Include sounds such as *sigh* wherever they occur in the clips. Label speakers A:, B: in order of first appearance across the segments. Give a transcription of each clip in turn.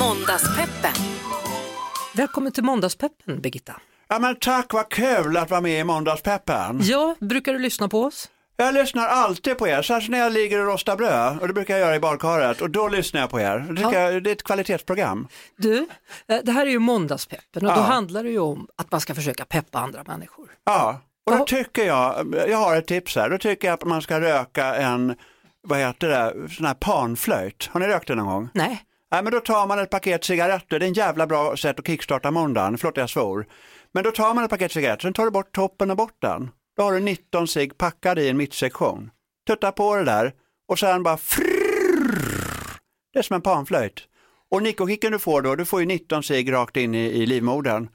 A: Måndagspeppen.
B: Välkommen till Måndagspeppen, Birgitta.
C: Ja men tack, vad kul att vara med i Måndagspeppen.
B: Ja, brukar du lyssna på oss?
C: Jag lyssnar alltid på er, särskilt när jag ligger och rostar bröd och det brukar jag göra i badkaret och då lyssnar jag på er. Det, tycker jag, det är ett kvalitetsprogram.
B: Du, eh, det här är ju Måndagspeppen och då
C: Ja.
B: handlar det ju om att man ska försöka peppa andra människor.
C: Ja, och då
B: Ja.
C: tycker jag, jag har ett tips här, då tycker jag att man ska röka en, vad heter det, sån här panflöjt. Har ni rökt det någon gång?
B: Nej,
C: Nej men då tar man ett paket cigaretter, det är en jävla bra sätt att kickstarta måndagen, förlåt jag svor. Men då tar man ett paket cigaretter, sen tar du bort toppen och botten. Då har du 19 cigg packade i en mittsektion. Tutta på det där och sen bara frrrr. Det är som en panflöjt. Och nickokicken du får då, du får ju 19 cigg rakt in i, i livmodern.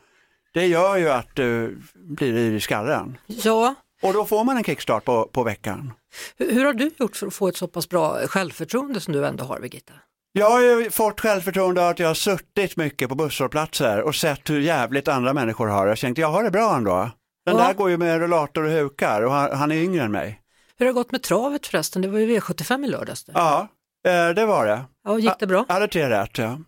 C: Det gör ju att du blir yr i skallen.
B: ja.
C: Och då får man en kickstart på, på veckan.
B: Hur, hur har du gjort för att få ett så pass bra självförtroende som du ändå har, Birgitta?
C: Jag har ju fått självförtroende av att jag har suttit mycket på busshållplatser och sett hur jävligt andra människor har det. Jag tänkte, jag har det bra ändå. Den
B: Ja.
C: där går ju med rullator och hukar och han, han är yngre än mig.
B: Hur har det gått med travet förresten? Det var ju V75 i lördags. det.
C: Ja, eh, det var det.
B: Ja, gick det bra?
C: Jag hade tre rätt, ja.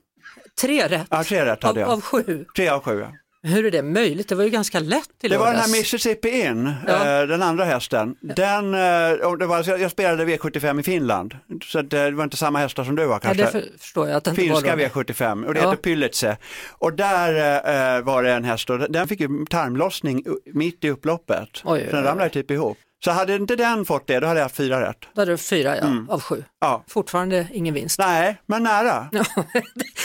B: Tre rätt
C: ja tre rätt
B: av,
C: hade jag.
B: av sju.
C: Tre av sju. ja.
B: Hur är det möjligt? Det var ju ganska lätt i
C: Det var den
B: lördags.
C: här Mississippi In,
B: Ja.
C: eh, den andra hästen. Den, eh, och det var, jag jag spelade V75 i Finland, så att, eh, det var inte samma hästar som du har
B: Ja,
C: kanske.
B: det för- förstår jag att det inte
C: Finska
B: var de.
C: V75 och det
B: Ja.
C: heter Pyllitse. Och där eh, var det en häst och den fick ju tarmlossning u- mitt i upploppet.
B: Oj, oj,
C: så den
B: oj.
C: ramlade typ ihop. Så hade inte den fått det, då hade jag haft fyra rätt.
B: Då hade du fyra ja,
C: Mm.
B: av sju.
C: Ja.
B: Fortfarande ingen vinst.
C: Nej, men nära.
B: *laughs*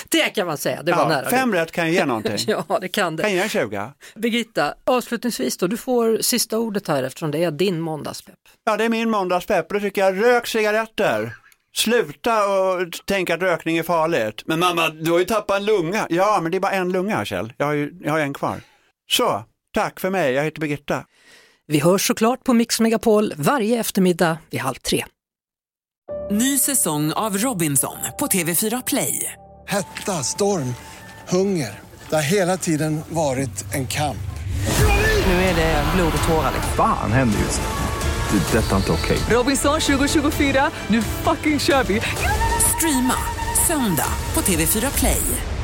B: Det kan man säga, det var
C: Ja,
B: nära. *laughs*
C: fem rätt kan ju ge någonting.
B: Ja, det kan
C: Kan
B: det.
C: ge en 20.
B: Birgitta, avslutningsvis då, du får sista ordet här eftersom det är din måndagspepp.
C: Ja, det är min måndagspepp och då tycker jag rök cigaretter. Sluta och tänka att rökning är farligt. Men mamma, du har ju tappat en lunga. Ja, men det är bara en lunga Kjell. Jag har ju jag har en kvar. Så, tack för mig. Jag heter Birgitta.
B: Vi hörs såklart på Mix Megapol varje eftermiddag vid halv tre.
D: Ny säsong av Robinson på TV4 Play.
E: Hetta, storm, hunger. Det har hela tiden varit en kamp.
D: Nu är det blod och tårar.
F: Fan händer just nu. Det. är Detta är inte okej.
D: Robinson 2024, nu fucking kör vi! Streama söndag på TV4 Play.